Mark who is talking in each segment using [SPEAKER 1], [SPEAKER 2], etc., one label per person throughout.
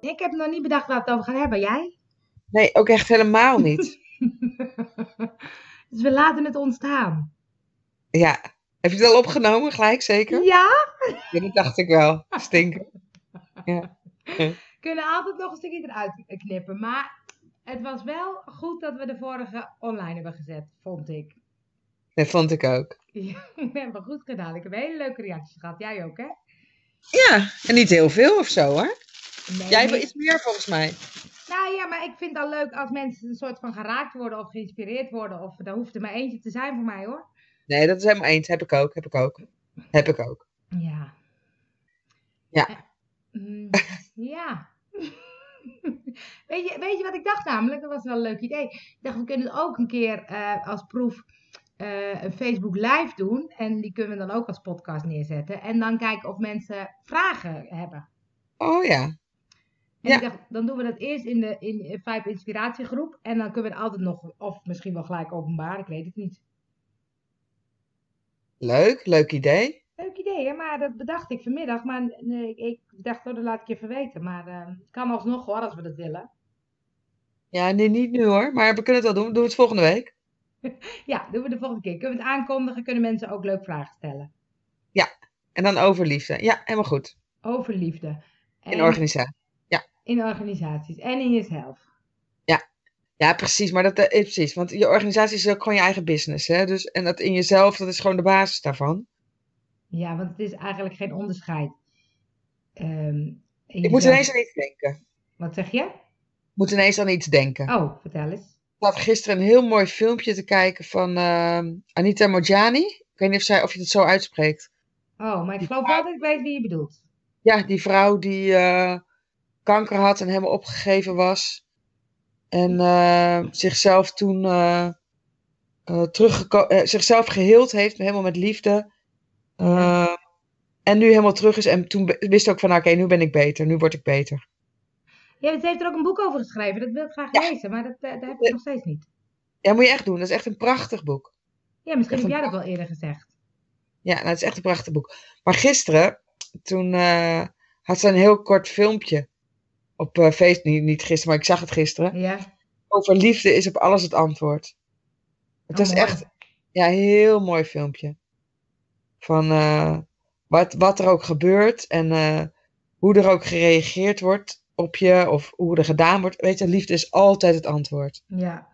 [SPEAKER 1] ik heb nog niet bedacht waar we het over gaan hebben. Jij?
[SPEAKER 2] Nee, ook echt helemaal niet.
[SPEAKER 1] dus we laten het ontstaan.
[SPEAKER 2] Ja. Heb je het al opgenomen gelijk, zeker?
[SPEAKER 1] Ja?
[SPEAKER 2] Ja, dat dacht ik wel. Stinken.
[SPEAKER 1] Kunnen altijd nog een stukje eruit knippen. Maar het was wel goed dat we de vorige online hebben gezet, vond ik.
[SPEAKER 2] Dat vond ik ook.
[SPEAKER 1] Ja, we hebben goed gedaan. Ik heb hele leuke reacties gehad. Jij ook, hè?
[SPEAKER 2] Ja, en niet heel veel of zo hoor.
[SPEAKER 1] Nee,
[SPEAKER 2] Jij wil
[SPEAKER 1] nee.
[SPEAKER 2] iets meer volgens mij.
[SPEAKER 1] Nou ja, maar ik vind het al leuk als mensen een soort van geraakt worden of geïnspireerd worden. Of daar hoeft er maar eentje te zijn voor mij, hoor.
[SPEAKER 2] Nee, dat is helemaal eens. Heb ik ook, heb ik ook. Heb ik ook.
[SPEAKER 1] Ja.
[SPEAKER 2] Ja.
[SPEAKER 1] Eh, mm, ja. weet, je, weet je wat ik dacht namelijk? Dat was wel een leuk idee. Ik dacht, we kunnen ook een keer eh, als proef eh, een Facebook live doen. En die kunnen we dan ook als podcast neerzetten. En dan kijken of mensen vragen hebben.
[SPEAKER 2] Oh ja.
[SPEAKER 1] En
[SPEAKER 2] Ja.
[SPEAKER 1] ik dacht, dan doen we dat eerst in de in de Vibe Inspiratiegroep. En dan kunnen we het altijd nog, of misschien wel gelijk openbaar, ik weet het niet.
[SPEAKER 2] Leuk, leuk idee.
[SPEAKER 1] Leuk idee, hè? maar dat bedacht ik vanmiddag. Maar nee, ik- ik dacht, oh, dat laat ik je even weten. Maar eh, het kan alsnog hoor, als we dat willen.
[SPEAKER 2] Ja, nee, niet nu hoor. Maar we kunnen het wel doen. Doen we het volgende week.
[SPEAKER 1] Ja, doen we de volgende keer. Kunnen we het aankondigen, kunnen mensen ook leuk vragen stellen.
[SPEAKER 2] En dan over liefde. Ja, helemaal goed.
[SPEAKER 1] Over liefde. En
[SPEAKER 2] In organisatie.
[SPEAKER 1] in organisaties en in jezelf.
[SPEAKER 2] Ja, precies. Maar dat, eh, precies. Want je organisatie is ook gewoon je eigen business. Hè? Dus, en dat in jezelf, dat is gewoon de basis daarvan.
[SPEAKER 1] Ja, want het is eigenlijk geen onderscheid. Ehm, in
[SPEAKER 2] Ik moet
[SPEAKER 1] jezelf-
[SPEAKER 2] ineens aan iets denken.
[SPEAKER 1] Wat zeg je?
[SPEAKER 2] Ik moet ineens aan iets denken.
[SPEAKER 1] Oh, vertel eens.
[SPEAKER 2] Ik zat gisteren een heel mooi filmpje te kijken van ehm, Anita Morjani. Ik weet niet of, zij, of je het zo uitspreekt.
[SPEAKER 1] Oh, maar ik
[SPEAKER 2] Die
[SPEAKER 1] geloof
[SPEAKER 2] vrouw-
[SPEAKER 1] wel dat ik weet wie je bedoelt.
[SPEAKER 2] Ja, die vrouw die eh, kanker had en helemaal opgegeven was. En eh, zichzelf toen eh eh, teruggeko- eh, zichzelf geheeld heeft, helemaal met liefde.
[SPEAKER 1] Ja.
[SPEAKER 2] Eh, en nu helemaal terug is. En toen be- wist ook van, nou, oké, nu ben ik beter, nu word ik beter.
[SPEAKER 1] Ja, ze heeft er ook een boek over geschreven. Dat wil ik graag
[SPEAKER 2] Ja.
[SPEAKER 1] lezen, maar dat, eh, dat heb ik nog steeds niet.
[SPEAKER 2] Ja, moet je echt doen. Dat is echt een prachtig boek.
[SPEAKER 1] Ja, misschien
[SPEAKER 2] Echt
[SPEAKER 1] heb
[SPEAKER 2] een
[SPEAKER 1] jij dat wel eerder gezegd.
[SPEAKER 2] Ja, nou, het is echt een prachtig boek. Maar gisteren, toen eh, had ze een heel kort filmpje op eh Facebook, niet, niet gisteren, maar ik zag het gisteren,
[SPEAKER 1] Ja.
[SPEAKER 2] over liefde is op alles het antwoord. Het
[SPEAKER 1] Oh,
[SPEAKER 2] was
[SPEAKER 1] mooi.
[SPEAKER 2] echt ja, een heel mooi filmpje. Van eh, wat, wat er ook gebeurt en eh, hoe er ook gereageerd wordt op je of hoe er gedaan wordt. Weet je, liefde is altijd het antwoord.
[SPEAKER 1] Ja.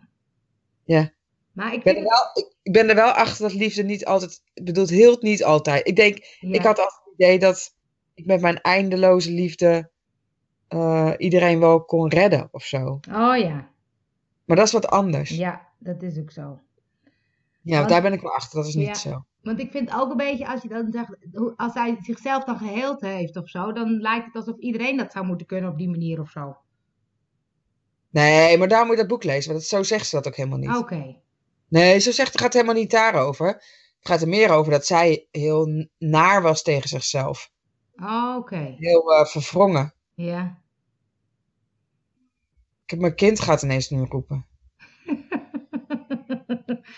[SPEAKER 2] Ja.
[SPEAKER 1] Maar ik
[SPEAKER 2] Ik ben er
[SPEAKER 1] vind...
[SPEAKER 2] wel, ik, ik ben er wel achter dat liefde niet altijd, ik bedoel, het hield niet altijd. Ik denk,
[SPEAKER 1] ja.
[SPEAKER 2] ik had altijd het idee dat ik met mijn eindeloze liefde eh, iedereen wel kon redden of zo.
[SPEAKER 1] Oh ja.
[SPEAKER 2] Maar dat is wat anders. Ja,
[SPEAKER 1] Ja, dat is ook zo.
[SPEAKER 2] want
[SPEAKER 1] want-
[SPEAKER 2] daar ben ik wel achter. Dat is niet
[SPEAKER 1] Ja.
[SPEAKER 2] zo.
[SPEAKER 1] Want ik vind ook een beetje, als, je dan zegt, hoe- als hij zichzelf dan geheeld heeft of zo, dan lijkt het alsof iedereen dat zou moeten kunnen op die manier of zo.
[SPEAKER 2] Nee, maar daar moet je dat boek lezen, want dat, zo zegt ze dat ook helemaal niet.
[SPEAKER 1] Oké.
[SPEAKER 2] Nee, zo zegt, het gaat helemaal niet daarover. Het gaat er meer over dat zij heel n- naar was tegen zichzelf.
[SPEAKER 1] Oké.
[SPEAKER 2] Heel eh, verwrongen.
[SPEAKER 1] Ja.
[SPEAKER 2] Ik heb- mijn kind gaat ineens nu roepen.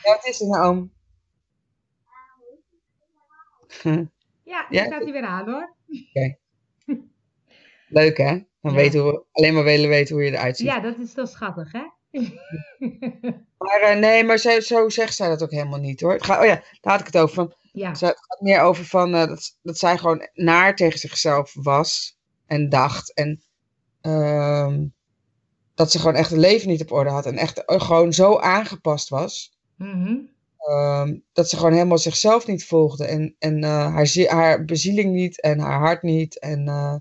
[SPEAKER 2] Ja, wat is er nou, oom?
[SPEAKER 1] ja, nu
[SPEAKER 2] Ja.
[SPEAKER 1] staat hij weer aan hoor.
[SPEAKER 2] Leuk, hè?
[SPEAKER 1] Ja.
[SPEAKER 2] Dan weten we alleen maar willen weten hoe je eruit ziet.
[SPEAKER 1] Ja, dat is toch schattig hè?
[SPEAKER 2] Maar eh, nee, maar zo, zo zegt zij dat ook helemaal niet hoor. Het gaat, oh ja, daar had ik het over. Van,
[SPEAKER 1] ja.
[SPEAKER 2] ze- het gaat meer over van, eh, dat, dat zij gewoon naar tegen zichzelf was en dacht. En ehm, dat ze gewoon echt het leven niet op orde had. En echt eh, gewoon zo aangepast was.
[SPEAKER 1] Mhm.
[SPEAKER 2] ehm, dat ze gewoon helemaal zichzelf niet volgde. En, en eh, haar, zie- haar bezieling niet en haar hart niet. En, eh,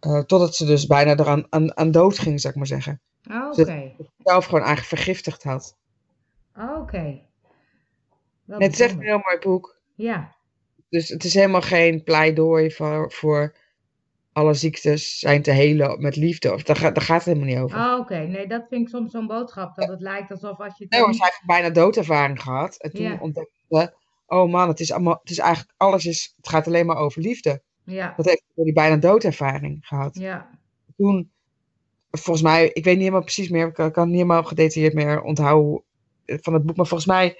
[SPEAKER 2] eh, totdat ze dus bijna eraan aan, aan dood ging, zou ik maar zeggen.
[SPEAKER 1] Oké.
[SPEAKER 2] Zelf gewoon eigenlijk vergiftigd had.
[SPEAKER 1] Oké. Wel
[SPEAKER 2] Net zegt een
[SPEAKER 1] bijzonder.
[SPEAKER 2] heel mooi boek.
[SPEAKER 1] Ja.
[SPEAKER 2] Dus het is helemaal geen pleidooi voor, voor alle ziektes zijn te helen met liefde. Of, daar, gaat- daar gaat het helemaal niet over.
[SPEAKER 1] Oké. Nee, dat vind ik soms zo'n boodschap. Dat het lijkt alsof als je. het
[SPEAKER 2] Nee hoor,
[SPEAKER 1] niet-
[SPEAKER 2] zij heeft bijna doodervaring gehad. En toen
[SPEAKER 1] Ja.
[SPEAKER 2] ontdekte ze, oh man, het is, allemaal, het is eigenlijk alles is, het gaat alleen maar over liefde.
[SPEAKER 1] Ja.
[SPEAKER 2] Dat heeft ze door die bijna doodervaring gehad.
[SPEAKER 1] Ja.
[SPEAKER 2] Toen, volgens mij, ik weet niet helemaal precies meer, ik kan, kan niet helemaal gedetailleerd meer onthouden hoe- van het boek. Maar volgens mij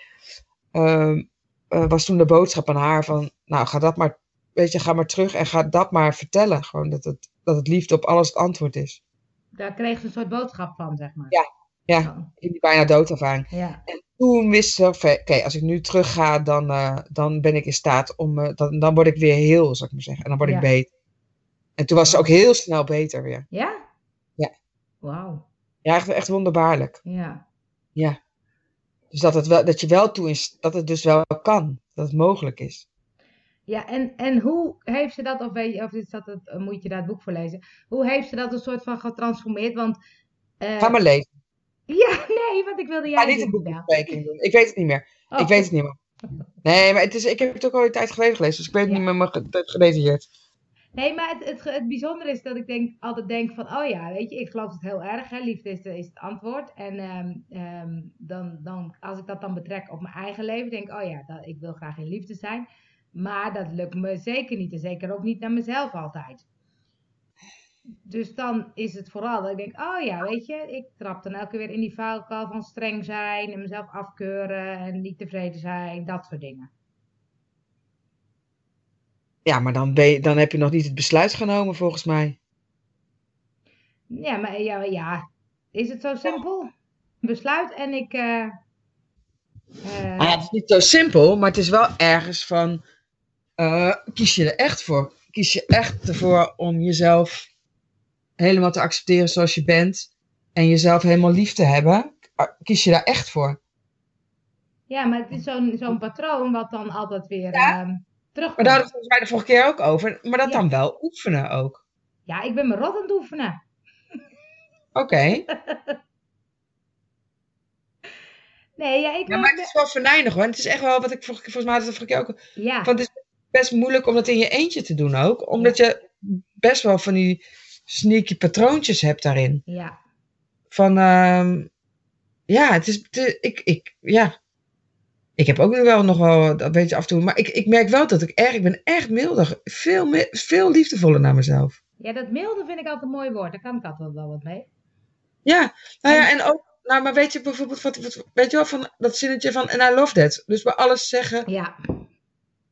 [SPEAKER 2] ehm, eh, was toen de boodschap aan haar van, nou ga dat maar, weet je, ga maar terug en ga dat maar vertellen. Gewoon dat het dat het liefde op alles het antwoord is.
[SPEAKER 1] Daar kreeg ze een soort boodschap van, zeg maar.
[SPEAKER 2] Ja, ja.
[SPEAKER 1] Zo,
[SPEAKER 2] In die bijna doodervaring.
[SPEAKER 1] ja.
[SPEAKER 2] Toen wist ze, oké, oké, als ik nu terug ga, dan, eh, dan ben ik in staat om, eh, dan, dan word ik weer heel, zal ik maar zeggen. En dan word
[SPEAKER 1] Ja.
[SPEAKER 2] ik beter. En toen was ze ook heel snel beter weer.
[SPEAKER 1] Ja?
[SPEAKER 2] Ja.
[SPEAKER 1] Wauw.
[SPEAKER 2] Ja, echt, echt wonderbaarlijk.
[SPEAKER 1] Ja.
[SPEAKER 2] Dus dat, het wel, dat je wel toe is, dat het dus wel kan. Dat het mogelijk is.
[SPEAKER 1] Ja, en, en hoe heeft ze dat, of, weet je, of is dat het, eh, moet je daar het boek voor lezen? Hoe heeft ze dat een soort van getransformeerd? Want, eh,
[SPEAKER 2] Ga maar lezen.
[SPEAKER 1] ja, nee, want ik wilde jij
[SPEAKER 2] Ga niet een
[SPEAKER 1] doen, Bel.
[SPEAKER 2] boekbespreking doen. Ik weet het niet meer.
[SPEAKER 1] Oh,
[SPEAKER 2] Ik weet het niet meer. Nee, maar het is, ik heb het ook al een tijd geleden gelezen, dus ik weet het
[SPEAKER 1] Ja.
[SPEAKER 2] niet meer maar ge- het gedetailleerd.
[SPEAKER 1] Nee, maar het, het, het bijzondere is dat ik denk, altijd denk van, oh ja, weet je, ik geloof het heel erg, hè, liefde is, de- is het antwoord. En ehm, ehm, dan, dan, als ik dat dan betrek op mijn eigen leven, denk ik, oh ja, dat, ik wil graag in liefde zijn. Maar dat lukt me zeker niet en zeker ook niet naar mezelf altijd. Dus dan is het vooral dat ik denk, oh ja, weet je, ik trap dan elke keer weer in die vuilkal van streng zijn en mezelf afkeuren en niet tevreden zijn, dat soort dingen.
[SPEAKER 2] Ja, maar dan, ben je, dan heb je nog niet het besluit genomen, volgens mij.
[SPEAKER 1] Ja, maar ja, maar ja. is het zo simpel? Besluit en ik. eh, eh,
[SPEAKER 2] Nou ja, het is niet zo simpel, maar het is wel ergens van, eh, kies je er echt voor? Kies je echt ervoor om jezelf helemaal te accepteren zoals je bent en jezelf helemaal lief te hebben? Ah, Kies je daar echt voor?
[SPEAKER 1] ja, maar het is zo'n zo'n patroon wat dan altijd weer ehm, terugkomt.
[SPEAKER 2] Maar daar hadden we het volgens mij de vorige keer ook over, maar dat
[SPEAKER 1] Ja.
[SPEAKER 2] dan wel oefenen ook.
[SPEAKER 1] Ja, ik ben me rot aan het oefenen.
[SPEAKER 2] Oké,
[SPEAKER 1] Nee, ja, ik
[SPEAKER 2] Ja,
[SPEAKER 1] wil-
[SPEAKER 2] maar het is wel venijnig hoor. En het is echt wel wat ik vorige, volgens mij had ik het de vorige keer ook
[SPEAKER 1] ja,
[SPEAKER 2] Want het is best moeilijk om dat in je eentje te doen ook. Omdat je best wel van die sneaky patroontjes hebt daarin.
[SPEAKER 1] ja,
[SPEAKER 2] Van, ehm, ja, het is, te- ik, ik, ja. Ik heb ook nu wel nog wel dat beetje af en toe. Maar ik, ik merk wel dat ik erg, ik ben echt milder. Veel, mi- veel liefdevoller naar mezelf.
[SPEAKER 1] ja, dat milde vind ik altijd een mooi woord. Daar kan ik altijd wel wat mee.
[SPEAKER 2] Ja, nou ja, en ook, nou, maar weet je bijvoorbeeld, wat, wat- weet je wel, van dat zinnetje van, en I love that. Dus bij alles zeggen,
[SPEAKER 1] Ja.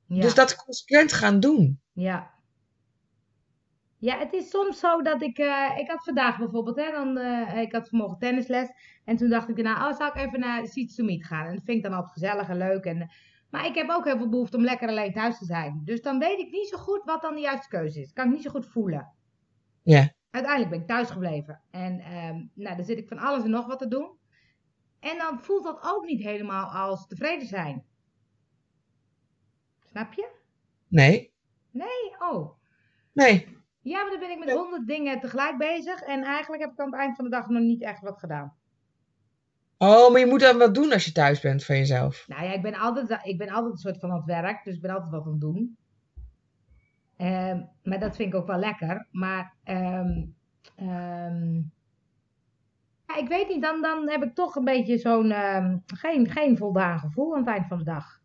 [SPEAKER 1] ja.
[SPEAKER 2] dus dat consequent gaan doen.
[SPEAKER 1] Ja. Ja, het is soms zo dat ik. eh, ik had vandaag bijvoorbeeld, hè, dan, eh, ik had vanmorgen tennisles. En toen dacht ik daarna, oh, zou ik even naar Seeds to Meet gaan? En dat vind ik dan altijd gezellig en leuk. En, maar ik heb ook heel veel behoefte om lekker alleen thuis te zijn. Dus dan weet ik niet zo goed wat dan de juiste keuze is. Kan ik niet zo goed voelen.
[SPEAKER 2] Ja.
[SPEAKER 1] Uiteindelijk ben ik thuis gebleven. En ehm, nou, dan zit ik van alles en nog wat te doen. En dan voelt dat ook niet helemaal als tevreden zijn. Snap je?
[SPEAKER 2] Nee,
[SPEAKER 1] Oh.
[SPEAKER 2] nee.
[SPEAKER 1] Ja, maar dan ben ik met
[SPEAKER 2] Ja.
[SPEAKER 1] honderd dingen tegelijk bezig. En eigenlijk heb ik aan het eind van de dag nog niet echt wat gedaan.
[SPEAKER 2] Oh, maar je moet dan wat doen als je thuis bent van jezelf.
[SPEAKER 1] Nou ja, ik ben altijd, ik ben altijd een soort van aan het werk. Dus ik ben altijd wat aan het doen. Ehm, maar dat vind ik ook wel lekker. Maar ehm, ehm, ja, ik weet niet, dan, dan heb ik toch een beetje zo'n ehm, geen, geen voldaan gevoel aan het eind van de dag.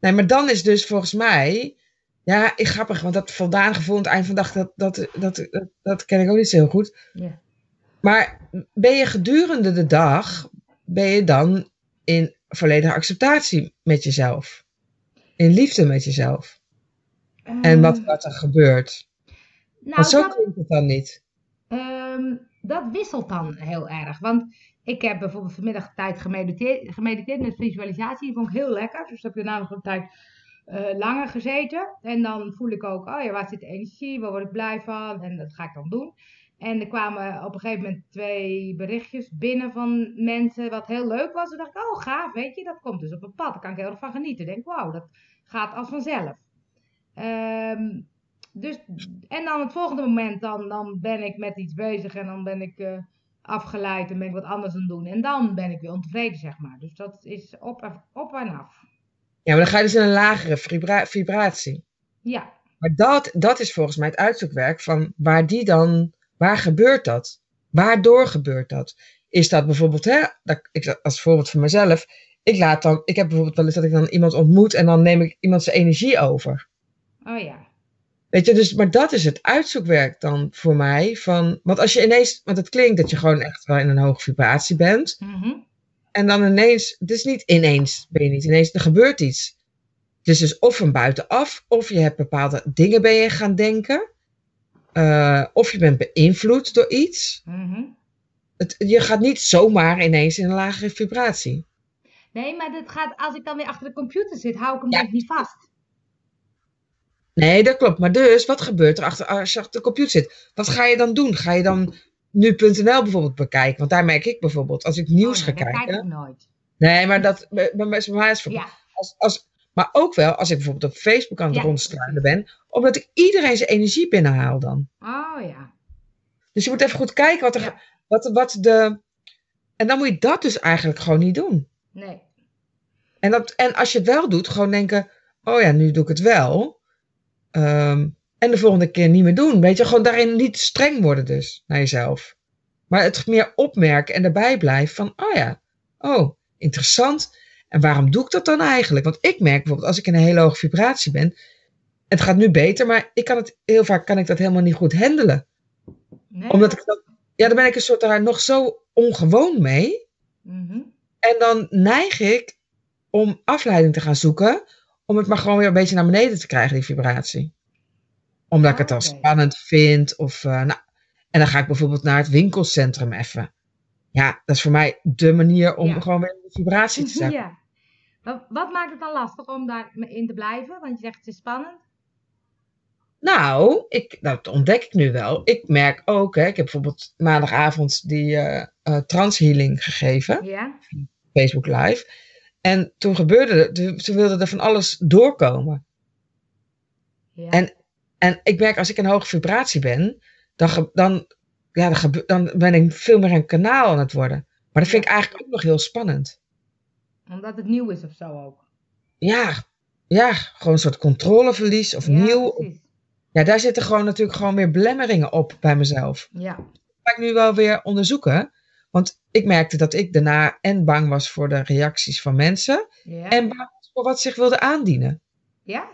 [SPEAKER 2] Nee, maar dan is dus volgens mij. Ja, ik, grappig, want dat voldaan gevoel aan het eind van de dag, dat, dat, dat, dat, dat ken ik ook niet zo heel goed.
[SPEAKER 1] Ja.
[SPEAKER 2] Maar ben je gedurende de dag, ben je dan in volledige acceptatie met jezelf? In liefde met jezelf? En wat,
[SPEAKER 1] Ehm,
[SPEAKER 2] wat er gebeurt?
[SPEAKER 1] nou,
[SPEAKER 2] Want zo
[SPEAKER 1] dat-
[SPEAKER 2] klinkt het dan niet.
[SPEAKER 1] Ehm, dat wisselt dan heel erg. Want ik heb bijvoorbeeld vanmiddag tijd gemediteerd, gemediteerd met visualisatie. Die vond ik heel lekker. Dus heb ik daarna nog een tijd eh, langer gezeten. En dan voel ik ook, oh ja, waar zit de energie? Waar word ik blij van? En dat ga ik dan doen. En er kwamen op een gegeven moment twee berichtjes binnen van mensen, wat heel leuk was. Toen dacht ik, oh gaaf, weet je, dat komt dus op een pad. Daar kan ik heel erg van genieten. Ik denk, wauw, dat gaat als vanzelf. Ehm, dus, en dan het volgende moment, dan, dan ben ik met iets bezig en dan ben ik eh, afgeleid en ben ik wat anders aan het doen. En dan ben ik weer ontevreden, zeg maar. Dus dat is op, en- op en af.
[SPEAKER 2] Ja, maar dan ga je dus in een lagere vibra- vibratie.
[SPEAKER 1] Ja,
[SPEAKER 2] Maar dat, dat is volgens mij het uitzoekwerk van waar die dan, waar gebeurt dat? Waardoor gebeurt dat? Is dat bijvoorbeeld, hè, dat, ik, als voorbeeld van mezelf, ik laat dan, ik heb bijvoorbeeld wel eens dat ik dan iemand ontmoet en dan neem ik iemand zijn energie over.
[SPEAKER 1] oh ja.
[SPEAKER 2] Weet je, dus, maar dat is het uitzoekwerk dan voor mij van, want als je ineens, want het klinkt dat je gewoon echt wel in een hoge vibratie bent
[SPEAKER 1] Mhm.
[SPEAKER 2] en dan ineens, het is niet ineens, ben je niet ineens, er gebeurt iets. Dus dus of van buitenaf, of je hebt bepaalde dingen ben je gaan denken. eh, of je bent beïnvloed door iets.
[SPEAKER 1] Mhm.
[SPEAKER 2] Het, je gaat niet zomaar ineens in een lagere vibratie.
[SPEAKER 1] Nee, maar dit gaat, als ik dan weer achter de computer zit, hou ik hem
[SPEAKER 2] Ja.
[SPEAKER 1] dus niet vast.
[SPEAKER 2] Nee, dat klopt. Maar dus, wat gebeurt er achter, als je achter de computer zit? Wat ga je dan doen? Ga je dan nu.nl bijvoorbeeld bekijken? Want daar merk ik bijvoorbeeld, als ik nieuws
[SPEAKER 1] Oh,
[SPEAKER 2] ga
[SPEAKER 1] nee, dat
[SPEAKER 2] kijken.
[SPEAKER 1] kijk ik nooit.
[SPEAKER 2] Nee, maar dat bij bij mij is bij mij is voor
[SPEAKER 1] Ja.
[SPEAKER 2] als, als, Maar ook wel als ik bijvoorbeeld op Facebook aan het
[SPEAKER 1] Ja.
[SPEAKER 2] rondstruinen ben, omdat ik iedereen zijn energie binnenhaal dan.
[SPEAKER 1] Oh ja.
[SPEAKER 2] Dus je moet even goed kijken wat er.
[SPEAKER 1] Ja.
[SPEAKER 2] Wat, wat de, en dan moet je dat dus eigenlijk gewoon niet doen.
[SPEAKER 1] Nee.
[SPEAKER 2] En, dat, en als je het wel doet, gewoon denken: oh ja, nu doe ik het wel. Ehm, en de volgende keer niet meer doen. Weet je, gewoon daarin niet streng worden, dus naar jezelf. Maar het meer opmerken en erbij blijven van: oh ja, oh, interessant. En waarom doe ik dat dan eigenlijk? Want ik merk bijvoorbeeld als ik in een hele hoge vibratie ben. Het gaat nu beter, maar ik kan het, heel vaak kan ik dat helemaal niet goed handelen
[SPEAKER 1] nee.
[SPEAKER 2] omdat ik dan, ja, dan ben ik een soort daar nog zo ongewoon mee.
[SPEAKER 1] Mhm.
[SPEAKER 2] En dan neig ik om afleiding te gaan zoeken. Om het maar gewoon weer een beetje naar beneden te krijgen, die vibratie. Omdat ik het dan
[SPEAKER 1] Ah, Oké.
[SPEAKER 2] spannend vind. Of, eh, nou, en dan ga ik bijvoorbeeld naar het winkelcentrum even. Ja, dat is voor mij de manier om
[SPEAKER 1] Ja. Mhm,
[SPEAKER 2] gewoon weer in de vibratie te zijn.
[SPEAKER 1] Ja. Maar wat maakt het dan lastig om daarin te blijven? Want je zegt het is spannend.
[SPEAKER 2] Nou, ik, dat ontdek ik nu wel. Ik merk ook, hè, ik heb bijvoorbeeld maandagavond die eh eh transhealing gegeven.
[SPEAKER 1] Ja.
[SPEAKER 2] Facebook Live. En toen gebeurde het, toen- toen wilde er van alles doorkomen.
[SPEAKER 1] ja.
[SPEAKER 2] En- En ik merk als ik in hoge vibratie ben, dan, ge- dan, ja, dan, gebe- dan ben ik veel meer een kanaal aan het worden. Maar dat vind ik eigenlijk ook nog heel spannend.
[SPEAKER 1] Omdat het nieuw is of zo ook.
[SPEAKER 2] Ja, ja gewoon een soort controleverlies of
[SPEAKER 1] ja,
[SPEAKER 2] nieuw.
[SPEAKER 1] Precies.
[SPEAKER 2] Ja, daar zitten gewoon natuurlijk gewoon meer belemmeringen op bij mezelf.
[SPEAKER 1] Ja.
[SPEAKER 2] ga ik nu wel weer onderzoeken. Want ik merkte dat ik daarna en bang was voor de reacties van mensen.
[SPEAKER 1] Ja.
[SPEAKER 2] En bang was voor wat zich wilde aandienen.
[SPEAKER 1] ja.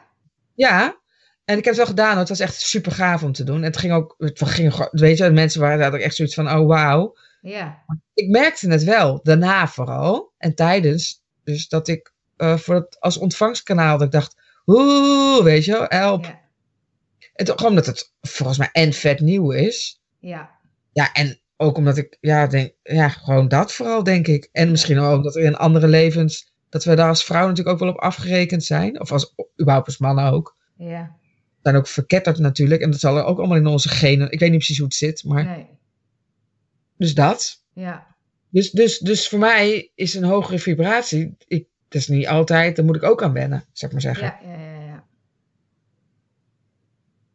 [SPEAKER 2] Ja, en ik heb het wel gedaan. hoor. Het was echt super gaaf om te doen. En het ging ook, het ging, gewoon- weet je, de mensen waren daar ook echt zoiets van, oh wauw.
[SPEAKER 1] Ja.
[SPEAKER 2] Ik merkte het wel, daarna vooral en tijdens, dus dat ik eh, voor het, als ontvangstkanaal, dat ik dacht, oeh, weet je, wel, help.
[SPEAKER 1] Ja.
[SPEAKER 2] En toch omdat het volgens mij en vet nieuw is.
[SPEAKER 1] Ja.
[SPEAKER 2] Ja, en ook omdat ik, ja, denk, ja, gewoon dat vooral, denk ik. En misschien ook omdat er in andere levens, dat we daar als vrouw natuurlijk ook wel op afgerekend zijn. Of als, überhaupt als mannen ook
[SPEAKER 1] Ja.
[SPEAKER 2] zijn ook verketterd natuurlijk. En dat zal er ook allemaal in onze genen. Ik weet niet precies hoe het zit, maar
[SPEAKER 1] Nee.
[SPEAKER 2] dus dat.
[SPEAKER 1] Ja.
[SPEAKER 2] Dus, dus, dus voor mij is een hogere vibratie. Ik, dat is niet altijd, daar moet ik ook aan wennen, zou ik maar zeggen.
[SPEAKER 1] Ja. Ja. Ja. Ja.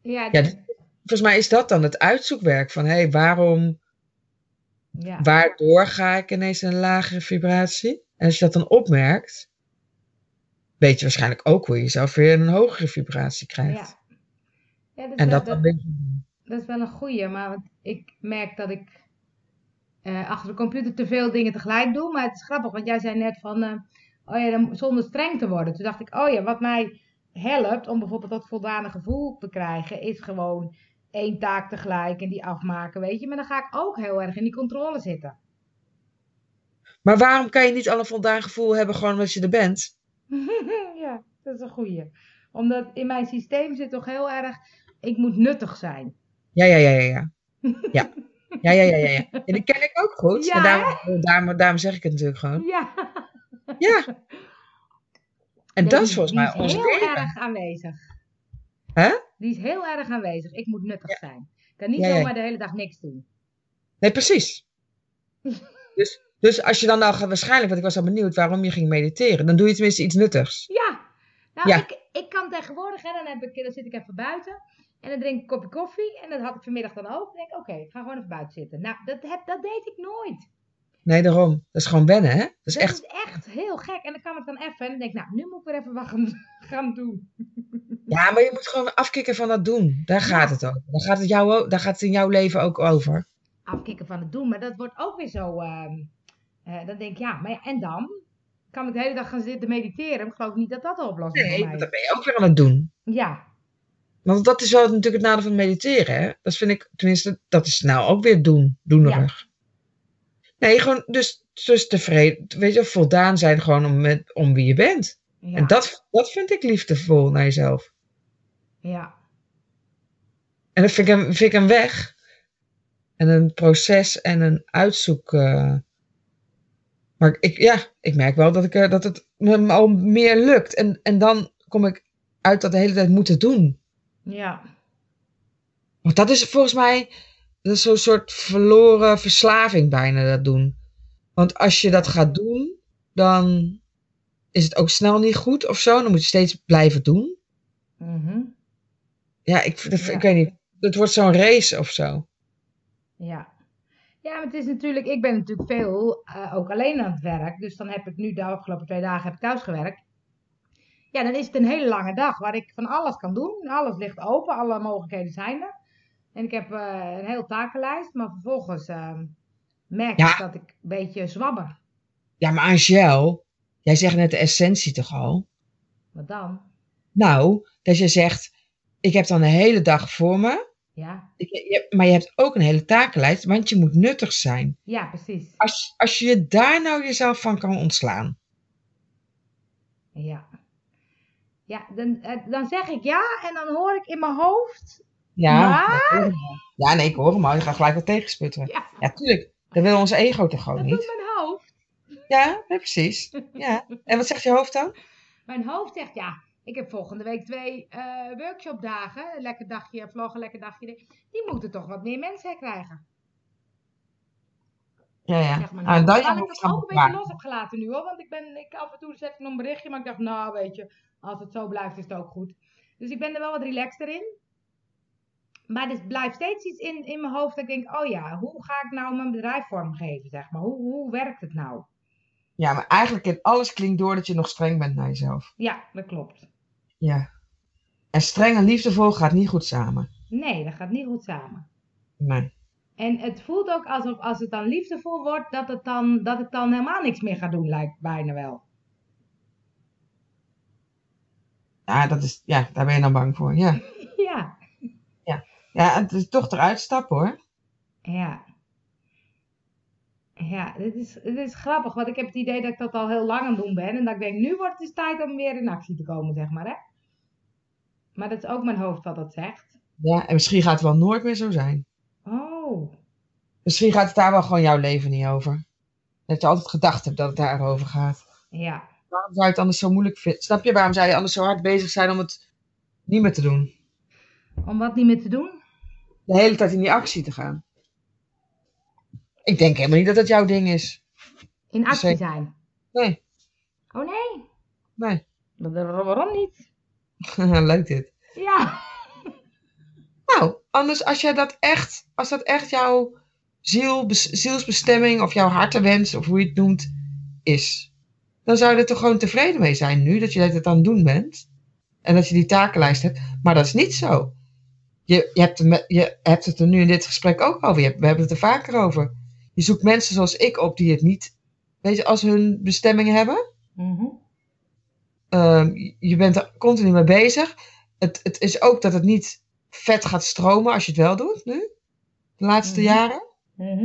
[SPEAKER 1] Ja. dus-
[SPEAKER 2] Ja, Volgens mij is dat dan het uitzoekwerk van hé, hey, waarom,
[SPEAKER 1] ja.
[SPEAKER 2] waardoor ga ik ineens in een lagere vibratie? En als je dat dan opmerkt, weet je waarschijnlijk ook hoe je jezelf weer in een hogere vibratie krijgt.
[SPEAKER 1] Ja. Ja, dus
[SPEAKER 2] En
[SPEAKER 1] wel-
[SPEAKER 2] dat dan weer.
[SPEAKER 1] Dat is wel een goeie, maar want ik merk dat ik eh, achter de computer te veel dingen tegelijk doe. Maar het is grappig, want jij zei net van, eh, oh ja, dan, zonder streng te worden. Toen dacht ik, oh ja, wat mij helpt om bijvoorbeeld dat voldane gevoel te krijgen, is gewoon één taak tegelijk en die afmaken, weet je. Maar dan ga ik ook heel erg in die controle zitten.
[SPEAKER 2] Maar waarom kan je niet al een voldaan gevoel hebben gewoon omdat je er bent?
[SPEAKER 1] ja, dat is een goeie. Omdat in mijn systeem zit toch heel erg, ik moet nuttig zijn.
[SPEAKER 2] Ja, ja, ja, ja, ja. Ja, ja, ja, ja. ja, ja. En die ken ik ook goed.
[SPEAKER 1] Ja,
[SPEAKER 2] maar daarom, daarom, daarom zeg ik het natuurlijk gewoon.
[SPEAKER 1] Ja,
[SPEAKER 2] Ja. En
[SPEAKER 1] Nee,
[SPEAKER 2] dat
[SPEAKER 1] die-
[SPEAKER 2] is volgens
[SPEAKER 1] die
[SPEAKER 2] mij ons
[SPEAKER 1] heel
[SPEAKER 2] leven.
[SPEAKER 1] erg aanwezig.
[SPEAKER 2] Hè?
[SPEAKER 1] Die is heel erg aanwezig. Ik moet nuttig zijn. Ik kan niet
[SPEAKER 2] Ja, ja.
[SPEAKER 1] zomaar de hele dag niks doen.
[SPEAKER 2] Nee, precies. Dus, dus als je dan nou gaat, waarschijnlijk, want ik was al benieuwd waarom je ging mediteren, dan doe je tenminste iets nuttigs.
[SPEAKER 1] Ja. Nou,
[SPEAKER 2] Ja.
[SPEAKER 1] Ik, ik kan tegenwoordig, hè, dan, heb ik, dan zit ik even buiten. En dan drink ik een kopje koffie. En dat had ik vanmiddag dan ook. Dan denk ik, oké, ik ga gewoon even buiten zitten. Nou, dat, heb, dat deed ik nooit.
[SPEAKER 2] Nee, daarom. Dat is gewoon wennen, hè? Dat is
[SPEAKER 1] dat
[SPEAKER 2] echt.
[SPEAKER 1] is echt heel gek. En dan kan ik dan even. En dan denk ik, nou, nu moet ik weer even wat gaan, gaan doen.
[SPEAKER 2] Ja, maar je moet gewoon afkicken van dat doen. Daar gaat het over. Daar gaat het, jou, ook- daar gaat het in jouw leven ook over.
[SPEAKER 1] Afkikken van het doen. Maar dat wordt ook weer zo... ehm, eh, dan denk ik, ja, maar ja, en dan? Kan ik de hele dag gaan zitten mediteren? Maar Ik geloof niet dat dat de oplossing
[SPEAKER 2] Nee,
[SPEAKER 1] voor
[SPEAKER 2] want
[SPEAKER 1] mij
[SPEAKER 2] dan ben je ook weer aan het doen.
[SPEAKER 1] Ja,
[SPEAKER 2] Want dat is wel natuurlijk het nadeel van mediteren. Hè? Dat vind ik, tenminste, dat is nou ook weer doen, doenerig. Nee, gewoon dus, dus tevreden, weet je, voldaan zijn gewoon om, met, om wie je bent.
[SPEAKER 1] Ja.
[SPEAKER 2] En dat, dat vind ik liefdevol naar jezelf.
[SPEAKER 1] ja.
[SPEAKER 2] En dat vind ik, een- vind ik een weg. En een proces en een uitzoek. eh. Maar ik, ja, ik merk wel dat, ik, eh, dat het me al meer lukt. En, en dan kom ik uit dat de hele tijd moeten doen.
[SPEAKER 1] Ja.
[SPEAKER 2] Want dat is volgens mij dat is zo'n soort verloren verslaving bijna, dat doen. Want als je dat gaat doen, dan is het ook snel niet goed of zo. Dan moet je steeds blijven doen.
[SPEAKER 1] Mhm.
[SPEAKER 2] Ja, ik, dat- ik
[SPEAKER 1] Ja.
[SPEAKER 2] weet niet. Het wordt zo'n race of zo.
[SPEAKER 1] Ja. Ja, maar het is natuurlijk, ik ben natuurlijk veel eh, ook alleen aan het werk. Dus dan heb ik nu de afgelopen twee dagen heb ik thuis gewerkt. Ja, dan is het een hele lange dag waar ik van alles kan doen. Alles ligt open, alle mogelijkheden zijn er. En ik heb eh, een heel takenlijst, maar vervolgens eh, merk
[SPEAKER 2] Ja.
[SPEAKER 1] ik dat ik een beetje zwabber.
[SPEAKER 2] Ja, maar Angel, jij zegt net de essentie toch al?
[SPEAKER 1] Wat dan?
[SPEAKER 2] Nou, dat je zegt, ik heb dan een hele dag voor me.
[SPEAKER 1] Ja,
[SPEAKER 2] Ik- je- maar je hebt ook een hele takenlijst, want je moet nuttig zijn.
[SPEAKER 1] ja precies.
[SPEAKER 2] Als, als je daar nou jezelf van kan ontslaan.
[SPEAKER 1] Ja. Ja, dan, eh, dan zeg ik ja en dan hoor ik in mijn hoofd.
[SPEAKER 2] Ja,
[SPEAKER 1] Maar-
[SPEAKER 2] ik hoor hem al. ja, nee, ik hoor hem al. Je gaat gelijk wat tegensputteren.
[SPEAKER 1] Ja,
[SPEAKER 2] Ja, tuurlijk. Dat wil ons ego toch gewoon
[SPEAKER 1] dat doet
[SPEAKER 2] niet?
[SPEAKER 1] mijn hoofd.
[SPEAKER 2] Ja, nee, precies. Ja. En wat zegt je hoofd dan?
[SPEAKER 1] Mijn hoofd zegt ja. Ik heb volgende week twee eh, workshopdagen. Een Lekker dagje vloggen, lekker dagje. dit. Die moeten toch wat meer mensen krijgen.
[SPEAKER 2] Ja, ja.
[SPEAKER 1] Zeg maar.
[SPEAKER 2] Ah, en dan je
[SPEAKER 1] Terwijl ik Nou, dat
[SPEAKER 2] hoofd gaan
[SPEAKER 1] ook een beetje
[SPEAKER 2] bepalen.
[SPEAKER 1] los heb gelaten nu hoor. Want ik ben ik, af en toe zet ik nog een berichtje. Maar ik dacht, nou weet je, als het zo blijft is het ook goed. Dus ik ben er wel wat relaxter in. Maar er blijft steeds iets in, in mijn hoofd dat ik denk, oh ja, hoe ga ik nou mijn bedrijf vormgeven, zeg maar? Hoe, hoe werkt het nou?
[SPEAKER 2] Ja, maar eigenlijk in alles klinkt door dat je nog streng bent naar jezelf.
[SPEAKER 1] Ja, dat klopt.
[SPEAKER 2] Ja. En streng en liefdevol gaat niet goed samen.
[SPEAKER 1] Nee, dat gaat niet goed samen.
[SPEAKER 2] Nee.
[SPEAKER 1] En het voelt ook alsof als het dan liefdevol wordt, dat het dan, dat het dan helemaal niks meer gaat doen, lijkt bijna wel.
[SPEAKER 2] Ja, dat is, ja, daar ben je dan bang voor. Ja.
[SPEAKER 1] Ja,
[SPEAKER 2] ja, het is toch eruit stappen hoor.
[SPEAKER 1] ja. Ja, dit is, dit is grappig, want ik heb het idee dat ik dat al heel lang aan het doen ben. En dat ik denk, nu wordt het dus tijd om weer in actie te komen, zeg maar, hè. Maar dat is ook mijn hoofd wat dat zegt.
[SPEAKER 2] Ja, en misschien gaat het wel nooit meer zo zijn.
[SPEAKER 1] Oh,
[SPEAKER 2] Misschien gaat het daar wel gewoon jouw leven niet over. Dat je altijd gedacht hebt dat het daarover gaat.
[SPEAKER 1] ja.
[SPEAKER 2] Waarom zou je het anders zo moeilijk vinden? Snap je waarom zou je anders zo hard bezig zijn om het niet meer te doen?
[SPEAKER 1] Om wat niet meer te doen?
[SPEAKER 2] De hele tijd in die actie te gaan. Ik denk helemaal niet dat dat jouw ding is.
[SPEAKER 1] In actie
[SPEAKER 2] Zeker.
[SPEAKER 1] zijn.
[SPEAKER 2] Dus Nee,
[SPEAKER 1] Oh nee,
[SPEAKER 2] nee.
[SPEAKER 1] Wa- wa- waarom niet?
[SPEAKER 2] Leuk dit.
[SPEAKER 1] Ja,
[SPEAKER 2] Nou, anders als jij dat echt, als dat echt jouw ziel, bes- zielsbestemming of jouw hartenwens of hoe je het noemt, is. Dan zou je er toch gewoon tevreden mee zijn nu dat je het aan het doen bent. En dat je die takenlijst hebt. Maar dat is niet zo. Je, je, hebt, er me- je hebt het er nu in dit gesprek ook over. Je hebt- we hebben het er vaker over. Je zoekt mensen zoals ik op die het niet, weet je, als ze hun bestemming hebben.
[SPEAKER 1] Mhm.
[SPEAKER 2] Ehm, je bent er continu mee bezig. Het, het is ook dat het niet vet gaat stromen als je het wel doet nu. De laatste
[SPEAKER 1] Mhm.
[SPEAKER 2] jaren.
[SPEAKER 1] Mhm.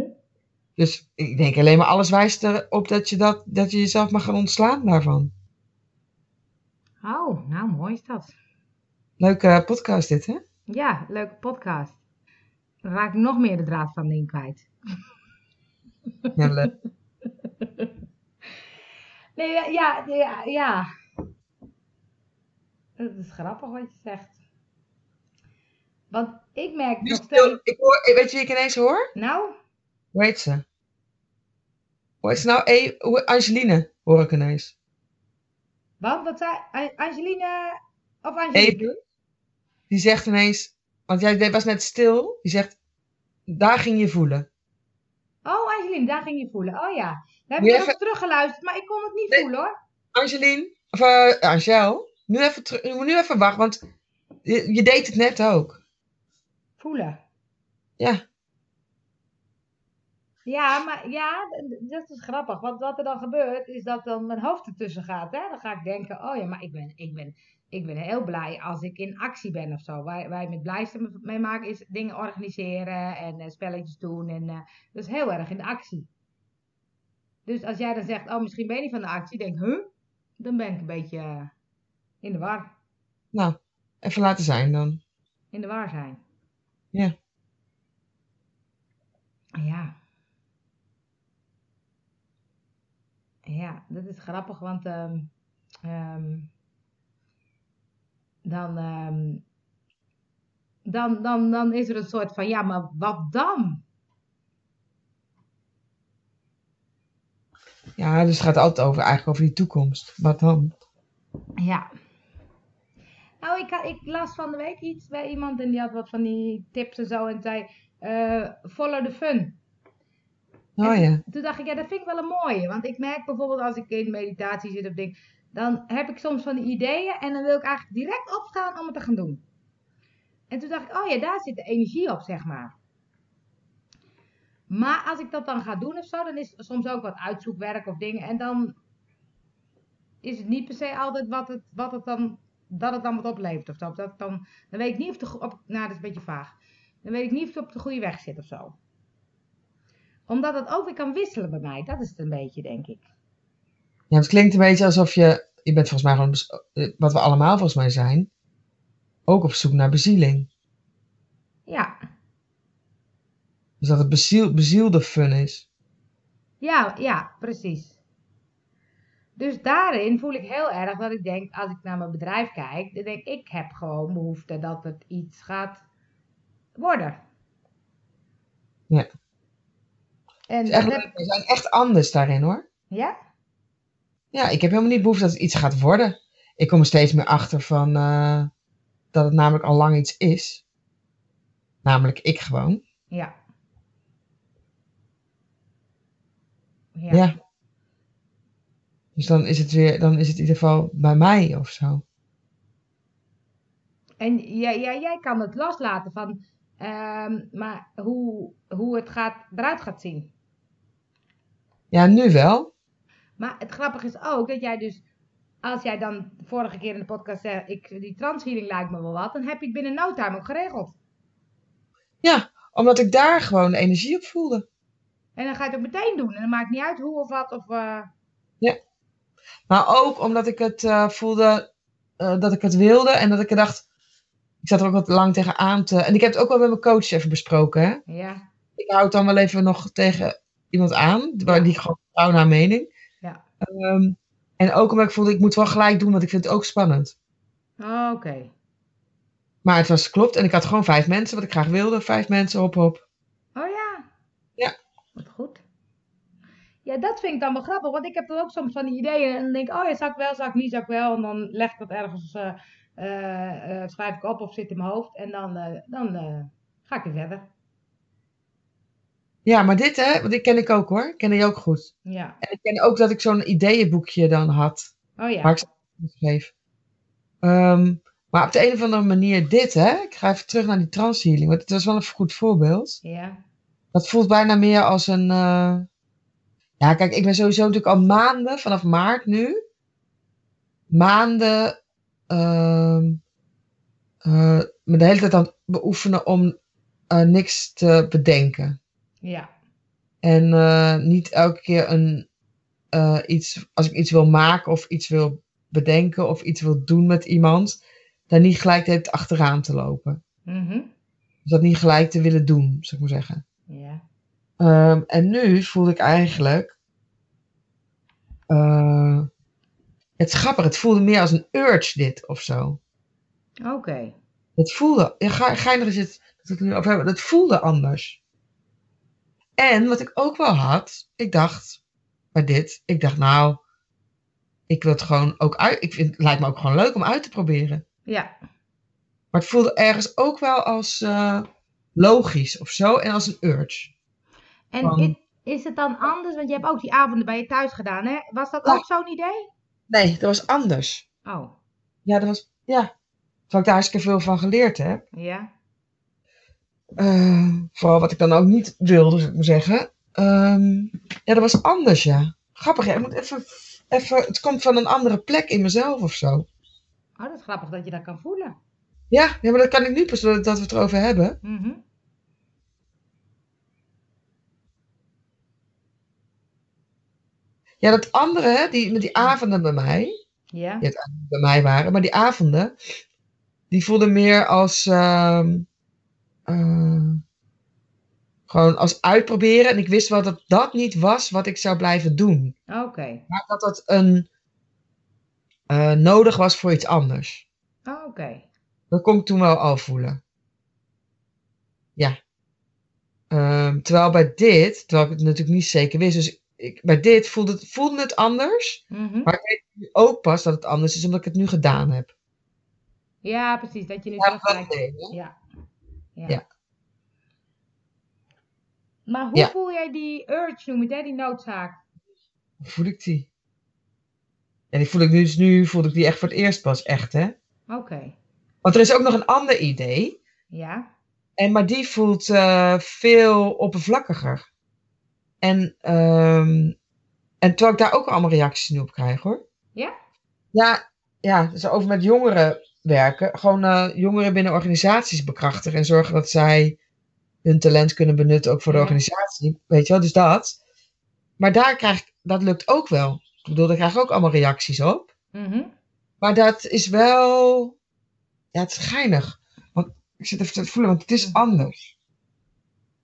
[SPEAKER 2] Dus ik denk alleen maar alles wijst erop dat je, dat, dat je jezelf mag gaan ontslaan daarvan.
[SPEAKER 1] oh, nou mooi is dat.
[SPEAKER 2] Leuke podcast dit, hè?
[SPEAKER 1] Ja, leuke podcast. Dan raak ik nog meer de draad van de in kwijt.
[SPEAKER 2] Ja, leuk.
[SPEAKER 1] Nee, ja, ja, ja, ja. Dat is grappig wat je zegt. Want ik merk
[SPEAKER 2] Nu
[SPEAKER 1] nog
[SPEAKER 2] stil-
[SPEAKER 1] steeds...
[SPEAKER 2] ik hoor, ik- weet je wie ik ineens hoor?
[SPEAKER 1] Nou,
[SPEAKER 2] Hoe heet ze? Hoe heet ze nou? E, hoe- Angeline hoor ik ineens.
[SPEAKER 1] want wat zei A- Angelina... Of Angelina?
[SPEAKER 2] Epe. Die zegt ineens, want jij was net stil. Die zegt, daar ging je voelen.
[SPEAKER 1] Oh, Angelina, daar ging je voelen. Oh ja. Daar heb
[SPEAKER 2] Moet
[SPEAKER 1] ik
[SPEAKER 2] je
[SPEAKER 1] nog
[SPEAKER 2] even-
[SPEAKER 1] teruggeluisterd, maar ik kon het niet
[SPEAKER 2] Nee.
[SPEAKER 1] voelen hoor.
[SPEAKER 2] Angeline, of eh, Angel, nu even terug. Je moet nu even wachten, want je, je deed het net ook.
[SPEAKER 1] Voelen.
[SPEAKER 2] Ja.
[SPEAKER 1] Ja, maar ja, d- d- dat is grappig. Want wat er dan gebeurt, is dat dan mijn hoofd ertussen gaat. Hè? Dan ga ik denken, oh ja, maar ik ben, ik ben, ik ben heel blij als ik in actie ben of zo. Waar, waar je met blijste mee maken is dingen organiseren en eh, spelletjes doen. En, eh, dat is heel erg in de actie. Dus als jij dan zegt, oh misschien ben je niet van de actie, denk, huh? dan ben ik een beetje eh, in de war.
[SPEAKER 2] Nou, even laten zijn dan.
[SPEAKER 1] In de war zijn.
[SPEAKER 2] Ja.
[SPEAKER 1] Ja. Ja, dat is grappig, want ehm, ehm, dan, ehm, dan, dan, dan is er een soort van, ja, maar wat dan?
[SPEAKER 2] Ja, dus het gaat altijd over, eigenlijk over die toekomst. Wat dan?
[SPEAKER 1] Ja. Nou, ik, had- ik las van de week iets bij iemand en die had wat van die tips en zo en zei, eh, follow the fun.
[SPEAKER 2] Oh ja.
[SPEAKER 1] Toen dacht ik, ja, dat vind ik wel een mooie. Want ik merk bijvoorbeeld als ik in meditatie zit of ding, dan heb ik soms van die ideeën en dan wil ik eigenlijk direct opstaan om het te gaan doen. En toen dacht ik, oh ja, daar zit de energie op, zeg maar. Maar als ik dat dan ga doen of zo, dan is er soms ook wat uitzoekwerk of dingen. En dan is het niet per se altijd wat het, wat het dan, dat het dan wat oplevert of zo. Of Dat dan, dan weet ik niet of de, go- op, nou, dat is een beetje vaag. Dan weet ik niet of het op de goede weg zit of zo omdat het ook weer kan wisselen bij mij. Dat is het een beetje, denk ik.
[SPEAKER 2] ja, het klinkt een beetje alsof je, je bent volgens mij gewoon, bes- eh, wat we allemaal volgens mij zijn, ook op zoek naar bezieling.
[SPEAKER 1] Ja,
[SPEAKER 2] Dus dat het beziel, bezielde fun is.
[SPEAKER 1] ja, ja, precies. Dus daarin voel ik heel erg dat ik denk, als ik naar mijn bedrijf kijk, dan denk ik, ik heb gewoon behoefte dat het iets gaat worden.
[SPEAKER 2] Ja.
[SPEAKER 1] En
[SPEAKER 2] Het is
[SPEAKER 1] dat
[SPEAKER 2] echt,
[SPEAKER 1] heb,
[SPEAKER 2] we zijn echt anders daarin hoor.
[SPEAKER 1] ja?
[SPEAKER 2] Ja, ik heb helemaal niet behoefte dat het iets gaat worden. Ik kom er steeds meer achter van eh, dat het namelijk al lang iets is. Namelijk ik gewoon.
[SPEAKER 1] Ja. Ja.
[SPEAKER 2] Ja. Dus dan is het weer, dan is het in ieder geval bij mij of zo.
[SPEAKER 1] En jij, jij, jij kan het loslaten van ehm, maar hoe, hoe het gaat, eruit gaat zien.
[SPEAKER 2] Ja, nu wel.
[SPEAKER 1] Maar het grappige is ook dat jij dus, als jij dan vorige keer in de podcast zei, ik, die transhealing lijkt me wel wat, dan heb je het binnen no time ook geregeld.
[SPEAKER 2] Omdat ik daar gewoon de energie op voelde.
[SPEAKER 1] En dan ga je het ook meteen doen. En dan maakt niet uit hoe of wat. Of, eh,
[SPEAKER 2] Maar ook omdat ik het eh, voelde eh, dat ik het wilde en dat ik er dacht. Ik zat er ook wat lang tegenaan te. En ik heb het ook wel met mijn coach even besproken. Hè?
[SPEAKER 1] ja,
[SPEAKER 2] ik houd dan wel even nog tegen iemand aan, waar die ik gewoon vertrouw naar mening.
[SPEAKER 1] Ja.
[SPEAKER 2] Ehm, en ook omdat ik voelde, ik moet wel gelijk doen, want ik vind het ook spannend.
[SPEAKER 1] Oh, oké.
[SPEAKER 2] Maar het was klopt en ik had gewoon vijf mensen, wat ik graag wilde. Vijf mensen, hop hop.
[SPEAKER 1] Oh ja.
[SPEAKER 2] Ja.
[SPEAKER 1] Wat goed. Ja, dat vind ik dan wel grappig, want ik heb dan ook soms van die ideeën en dan denk ik, oh ja, zou ik wel, zou ik niet, zou ik wel. En dan leg ik dat ergens, eh, eh, eh, schrijf ik op of zit in mijn hoofd en dan, eh, dan eh, ga ik weer verder.
[SPEAKER 2] Ja, maar dit hè, want dit ken ik ook hoor. Ik ken die ook goed.
[SPEAKER 1] Ja.
[SPEAKER 2] En ik ken ook dat ik zo'n ideeënboekje dan had,
[SPEAKER 1] Oh ja.
[SPEAKER 2] waar ik ze schreef. Ehm, maar op de een of andere manier dit hè. Ik ga even terug naar die transhealing, want het was wel een goed voorbeeld.
[SPEAKER 1] Ja.
[SPEAKER 2] Dat voelt bijna meer als een. eh, Ja, kijk, ik ben sowieso natuurlijk al maanden, vanaf maart nu, maanden ehm, eh, me de hele tijd aan het beoefenen om eh, niks te bedenken.
[SPEAKER 1] Ja.
[SPEAKER 2] En eh, niet elke keer een, eh, iets, als ik iets wil maken of iets wil bedenken of iets wil doen met iemand, daar niet gelijk de hele tijd achteraan te lopen.
[SPEAKER 1] Mhm.
[SPEAKER 2] Dus dat niet gelijk te willen doen, zou ik maar zeggen.
[SPEAKER 1] Ja.
[SPEAKER 2] Ehm, en nu voelde ik eigenlijk. eh, het is grappig, het voelde meer als een urge, dit of zo.
[SPEAKER 1] Oké.
[SPEAKER 2] Het voelde. ja, ge- Geinig is het dat we het er nu over hebben. Het voelde anders. En wat ik ook wel had, ik dacht bij dit, ik dacht nou, ik wil het gewoon ook uit. Ik vind, het lijkt me ook gewoon leuk om uit te proberen.
[SPEAKER 1] Ja.
[SPEAKER 2] Maar het voelde ergens ook wel als eh, logisch of zo en als een urge.
[SPEAKER 1] En
[SPEAKER 2] Van-
[SPEAKER 1] i- is het dan anders? Want je hebt ook die avonden bij je thuis gedaan, hè? Was dat
[SPEAKER 2] Ja.
[SPEAKER 1] ook zo'n idee?
[SPEAKER 2] Nee, dat was anders.
[SPEAKER 1] Oh,
[SPEAKER 2] Ja, dat was. Ja. Terwijl ik daar hartstikke veel van geleerd heb.
[SPEAKER 1] ja.
[SPEAKER 2] Eh, vooral wat ik dan ook niet wilde, zou ik maar zeggen. Ehm, ja, dat was anders, ja. Grappig, hè? Ik moet even, even. Het komt van een andere plek in mezelf of zo.
[SPEAKER 1] Oh, dat is grappig dat je dat kan voelen.
[SPEAKER 2] Ja, ja maar dat kan ik nu pas doordat dat we het erover hebben.
[SPEAKER 1] Mhm.
[SPEAKER 2] Ja, dat andere, hè, die, met die avonden bij mij.
[SPEAKER 1] Ja.
[SPEAKER 2] die uiteindelijk bij mij waren. Maar die avonden, die voelden meer als ehm, eh, gewoon als uitproberen. En ik wist wel dat dat niet was wat ik zou blijven doen.
[SPEAKER 1] Oké.
[SPEAKER 2] Maar dat dat een eh, nodig was voor iets anders.
[SPEAKER 1] Oké.
[SPEAKER 2] Dat kon ik toen wel al voelen. Ja. Ehm, terwijl bij dit, terwijl ik het natuurlijk niet zeker wist, dus ik, bij dit voelde het, voelde het anders.
[SPEAKER 1] Mhm.
[SPEAKER 2] Maar- Nu Ook pas dat het anders is, omdat ik het nu gedaan heb.
[SPEAKER 1] Ja, precies. Dat je nu
[SPEAKER 2] Ja,
[SPEAKER 1] terugkijkt.
[SPEAKER 2] dat deed, hè?
[SPEAKER 1] Ja. ja.
[SPEAKER 2] Ja.
[SPEAKER 1] Maar hoe
[SPEAKER 2] Ja.
[SPEAKER 1] voel jij die urge, noem het, hè? die noodzaak?
[SPEAKER 2] Hoe voel ik die? En die voel ik nu, dus nu voel ik die echt voor het eerst pas echt, hè?
[SPEAKER 1] Oké.
[SPEAKER 2] Want er is ook nog een ander idee.
[SPEAKER 1] Ja.
[SPEAKER 2] En, maar die voelt eh, veel oppervlakkiger. En, ehm, en terwijl ik daar ook allemaal reacties nu op krijg, hoor.
[SPEAKER 1] Ja?
[SPEAKER 2] Ja, ja dus over met jongeren werken. Gewoon eh, jongeren binnen organisaties bekrachtigen. En zorgen dat zij hun talent kunnen benutten ook voor de
[SPEAKER 1] Ja.
[SPEAKER 2] organisatie. Weet je wel, dus dat. Maar daar krijg ik, dat lukt ook wel. Ik bedoel, daar krijg ik ook allemaal reacties op.
[SPEAKER 1] Mhm.
[SPEAKER 2] Maar dat is wel. Ja, het is geinig. Want ik zit even te voelen, want het is anders.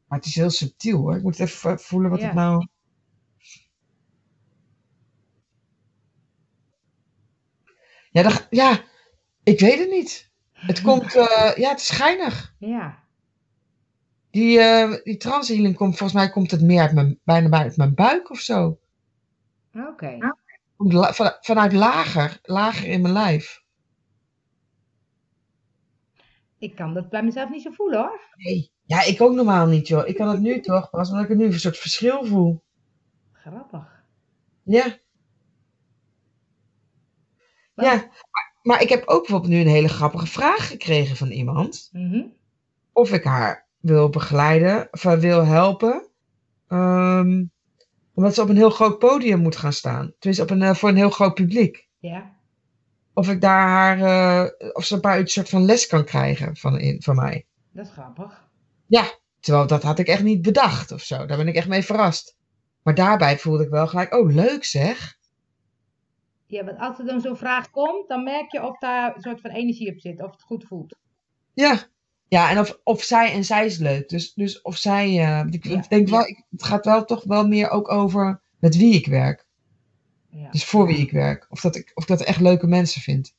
[SPEAKER 2] Maar het is heel subtiel hoor. Ik moet even eh, voelen wat
[SPEAKER 1] Ja.
[SPEAKER 2] het nou. Ja, dat, ja, ik weet het niet. Het komt. eh, ja, het is geinig.
[SPEAKER 1] Ja.
[SPEAKER 2] Die, eh die transhealing komt volgens mij komt het meer uit mijn, bijna uit mijn buik of zo.
[SPEAKER 1] Oké.
[SPEAKER 2] Komt la- van- vanuit lager, lager in mijn lijf.
[SPEAKER 1] Ik kan dat bij mezelf niet zo voelen hoor.
[SPEAKER 2] Nee. Ja, ik ook normaal niet, joh. Ik kan het nu toch pas, omdat ik er nu een soort verschil voel.
[SPEAKER 1] Grappig.
[SPEAKER 2] Ja. Ja, maar- maar ik heb ook bijvoorbeeld nu een hele grappige vraag gekregen van iemand.
[SPEAKER 1] Mhm.
[SPEAKER 2] Of ik haar wil begeleiden, of haar wil helpen. ehm, omdat ze op een heel groot podium moet gaan staan. Tenminste, op een, eh, voor een heel groot publiek.
[SPEAKER 1] Ja.
[SPEAKER 2] Of ik daar haar, eh, of ze een paar uur een soort van les kan krijgen van, in, van mij.
[SPEAKER 1] Dat is grappig.
[SPEAKER 2] Terwijl dat had ik echt niet bedacht of zo. Daar ben ik echt mee verrast. Maar daarbij voelde ik wel gelijk, oh leuk zeg.
[SPEAKER 1] Ja, want als er dan zo'n vraag komt, dan merk je of daar een soort van energie op zit. Of het goed voelt.
[SPEAKER 2] Ja. Ja, en of, of zij en zij is leuk. Dus, dus of zij, eh, ik
[SPEAKER 1] Ja.
[SPEAKER 2] denk wel, ik- het gaat wel toch wel meer ook over met wie ik werk.
[SPEAKER 1] Ja.
[SPEAKER 2] Dus voor wie ik werk. Of dat ik, of ik dat echt leuke mensen vind.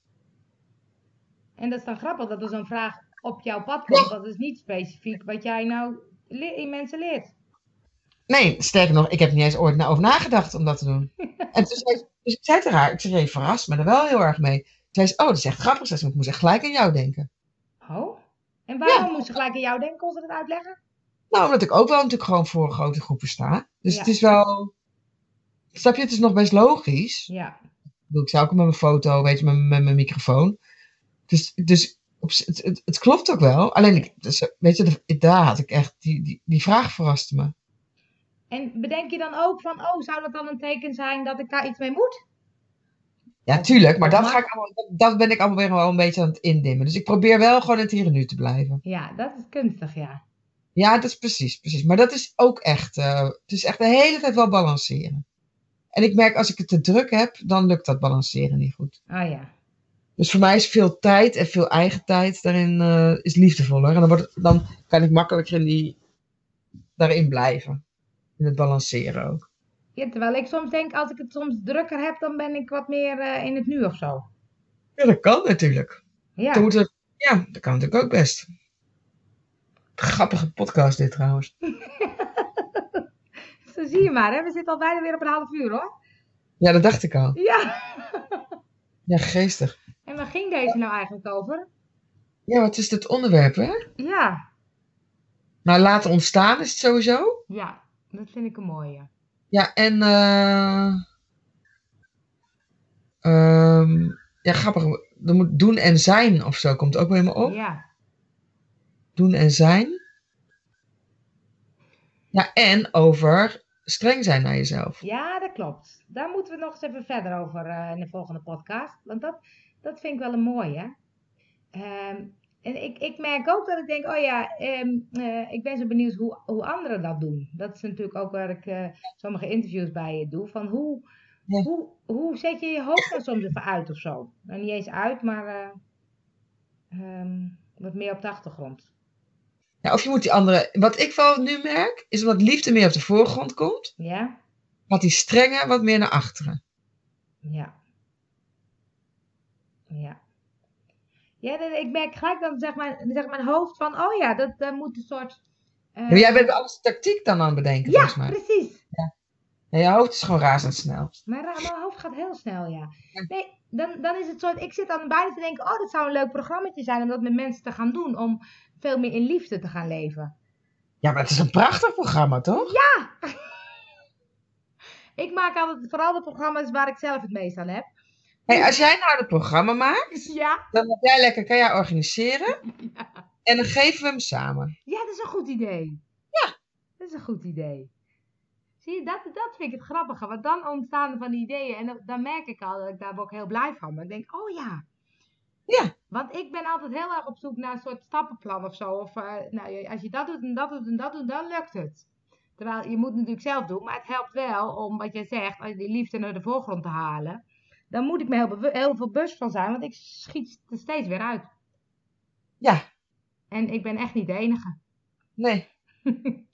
[SPEAKER 1] En dat is dan grappig dat er zo'n vraag op jouw pad komt. Dat is niet specifiek wat jij nou le- in mensen leert.
[SPEAKER 2] Nee, sterker nog, ik heb niet eens ooit na- over nagedacht om dat te doen. En toen zei, dus ik zei tegen haar, ik zeg, je verrast me er wel heel erg mee. Toen zei ze, oh dat is echt grappig. Zei ze, ik moest echt gelijk aan jou denken.
[SPEAKER 1] Oh? En waarom moest ze gelijk aan jou denken? Kon ze dat uitleggen?
[SPEAKER 2] Nou, omdat ik ook wel natuurlijk gewoon voor grote groepen sta. Dus
[SPEAKER 1] Ja.
[SPEAKER 2] het is wel. Snap je, het is nog best logisch.
[SPEAKER 1] Ja.
[SPEAKER 2] Ik, bedoel, ik sta ook met mijn foto, weet je, met, met mijn microfoon. Dus, dus op, z- het, het, het klopt ook wel. Alleen, ik, dus, weet je, de- daar had ik echt. Die, die, die vraag verraste me.
[SPEAKER 1] En bedenk je dan ook van, oh, zou dat dan een teken zijn dat ik daar iets mee moet?
[SPEAKER 2] Ja, tuurlijk, maar dat, ga ik allemaal, dat, dat ben ik allemaal weer wel een beetje aan het indimmen. Dus ik probeer wel gewoon het hier en nu te blijven.
[SPEAKER 1] Ja, dat is kunstig, ja.
[SPEAKER 2] Ja, dat is precies, precies. Maar dat is ook echt. eh, het is echt de hele tijd wel balanceren. En ik merk als ik het te druk heb, dan lukt dat balanceren niet goed.
[SPEAKER 1] Oh ja.
[SPEAKER 2] Dus voor mij is veel tijd en veel eigen tijd daarin eh, is liefdevoller. En dan, wordt het- dan kan ik makkelijker in die, daarin blijven. In het balanceren ook.
[SPEAKER 1] ja. Terwijl ik soms denk, als ik het soms drukker heb, dan ben ik wat meer eh, in het nu of zo.
[SPEAKER 2] Ja, dat kan natuurlijk. Dan
[SPEAKER 1] Ja.
[SPEAKER 2] moeten we- Ja, dat kan natuurlijk ook best. Grappige podcast dit trouwens.
[SPEAKER 1] Zo zie je maar, hè. We zitten al bijna weer op een half uur, hoor.
[SPEAKER 2] Ja, dat dacht ik al.
[SPEAKER 1] Ja.
[SPEAKER 2] Ja, geestig.
[SPEAKER 1] En waar ging deze nou eigenlijk over?
[SPEAKER 2] Ja, wat is dit onderwerp, hè?
[SPEAKER 1] Ja.
[SPEAKER 2] Nou, laten ontstaan is het sowieso.
[SPEAKER 1] Ja. Dat vind ik een mooie.
[SPEAKER 2] Ja, en... eh ehm, ja, grappig. Er moet doen en zijn of zo komt ook weer in me op.
[SPEAKER 1] Ja.
[SPEAKER 2] doen en zijn. Ja, en over streng zijn naar jezelf.
[SPEAKER 1] ja, dat klopt. Daar moeten we nog eens even verder over eh, in de volgende podcast. Want dat, dat vind ik wel een mooie. Ehm, en ik, ik merk ook dat ik denk, oh ja, ehm, eh, ik ben zo benieuwd hoe, hoe anderen dat doen. Dat is natuurlijk ook waar ik eh, sommige interviews bij je doe. Van hoe,
[SPEAKER 2] Ja.
[SPEAKER 1] Hoe, hoe zet je je hoofd dan soms even uit of zo? Nou, niet eens uit, maar eh, ehm, wat meer op de achtergrond.
[SPEAKER 2] Ja, of je moet die andere. Wat ik wel nu merk, is omdat liefde meer op de voorgrond komt,
[SPEAKER 1] Ja?
[SPEAKER 2] gaat die strenge wat meer naar achteren.
[SPEAKER 1] Ja. Ja. Ja, dan- ik merk gelijk dan zeg maar, zeg mijn hoofd van, oh ja, dat eh, moet een soort... eh,
[SPEAKER 2] Ja, maar jij bent alles tactiek dan aan het bedenken,
[SPEAKER 1] Ja,
[SPEAKER 2] volgens mij.
[SPEAKER 1] precies.
[SPEAKER 2] Ja, je hoofd is gewoon razendsnel.
[SPEAKER 1] Mijn, ra- mijn hoofd gaat heel snel, ja. Nee, dan, dan is het soort, ik zit dan bijna te denken, oh, dat zou een leuk programma zijn om dat met mensen te gaan doen, om veel meer in liefde te gaan leven.
[SPEAKER 2] Ja, maar het is een prachtig programma, toch?
[SPEAKER 1] Ik maak altijd vooral de programma's waar ik zelf het meest aan heb.
[SPEAKER 2] Hey, als jij nou het programma maakt,
[SPEAKER 1] Ja,
[SPEAKER 2] dan heb jij lekker, kan jij organiseren. En dan geven we hem samen.
[SPEAKER 1] ja dat is een goed idee. Ja. Dat is een goed idee. Zie je, dat, dat vind ik het grappige. Want dan ontstaan er van die ideeën. En dan, dan merk ik al dat ik daar ook heel blij van ben. Ik denk, oh ja.
[SPEAKER 2] Ja.
[SPEAKER 1] Want ik ben altijd heel erg op zoek naar een soort stappenplan of zo. Of eh, nou, je- als je dat doet en dat doet en dat doet, dan lukt het. Terwijl je moet het natuurlijk zelf doen. Maar het helpt wel om, wat jij zegt, als je die liefde naar de voorgrond te halen. Dan moet ik me heel, bewu- heel veel bewust van zijn. Want ik schiet er steeds weer uit.
[SPEAKER 2] Ja,
[SPEAKER 1] En ik ben echt niet de enige.
[SPEAKER 2] nee. Nee,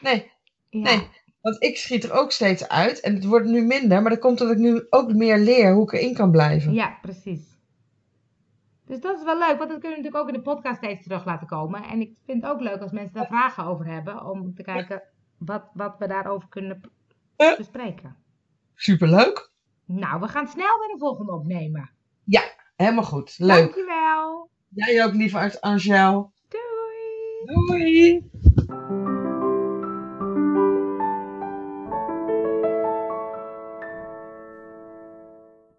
[SPEAKER 2] nee.
[SPEAKER 1] Ja.
[SPEAKER 2] Nee. Want ik schiet er ook steeds uit. En het wordt nu minder, maar dat komt omdat ik nu ook meer leer hoe ik erin kan blijven.
[SPEAKER 1] Ja, precies. Dus dat is wel leuk, want dat kunnen we natuurlijk ook in de podcast steeds terug laten komen. En ik vind het ook leuk als mensen daar vragen over hebben, om te kijken wat, wat we daarover kunnen p-
[SPEAKER 2] Ja.
[SPEAKER 1] bespreken.
[SPEAKER 2] Superleuk.
[SPEAKER 1] Nou, we gaan snel weer de volgende opnemen.
[SPEAKER 2] Helemaal goed. Leuk.
[SPEAKER 1] Dankjewel.
[SPEAKER 2] Jij ook, lieve Angel.
[SPEAKER 1] Doei.
[SPEAKER 2] Doei.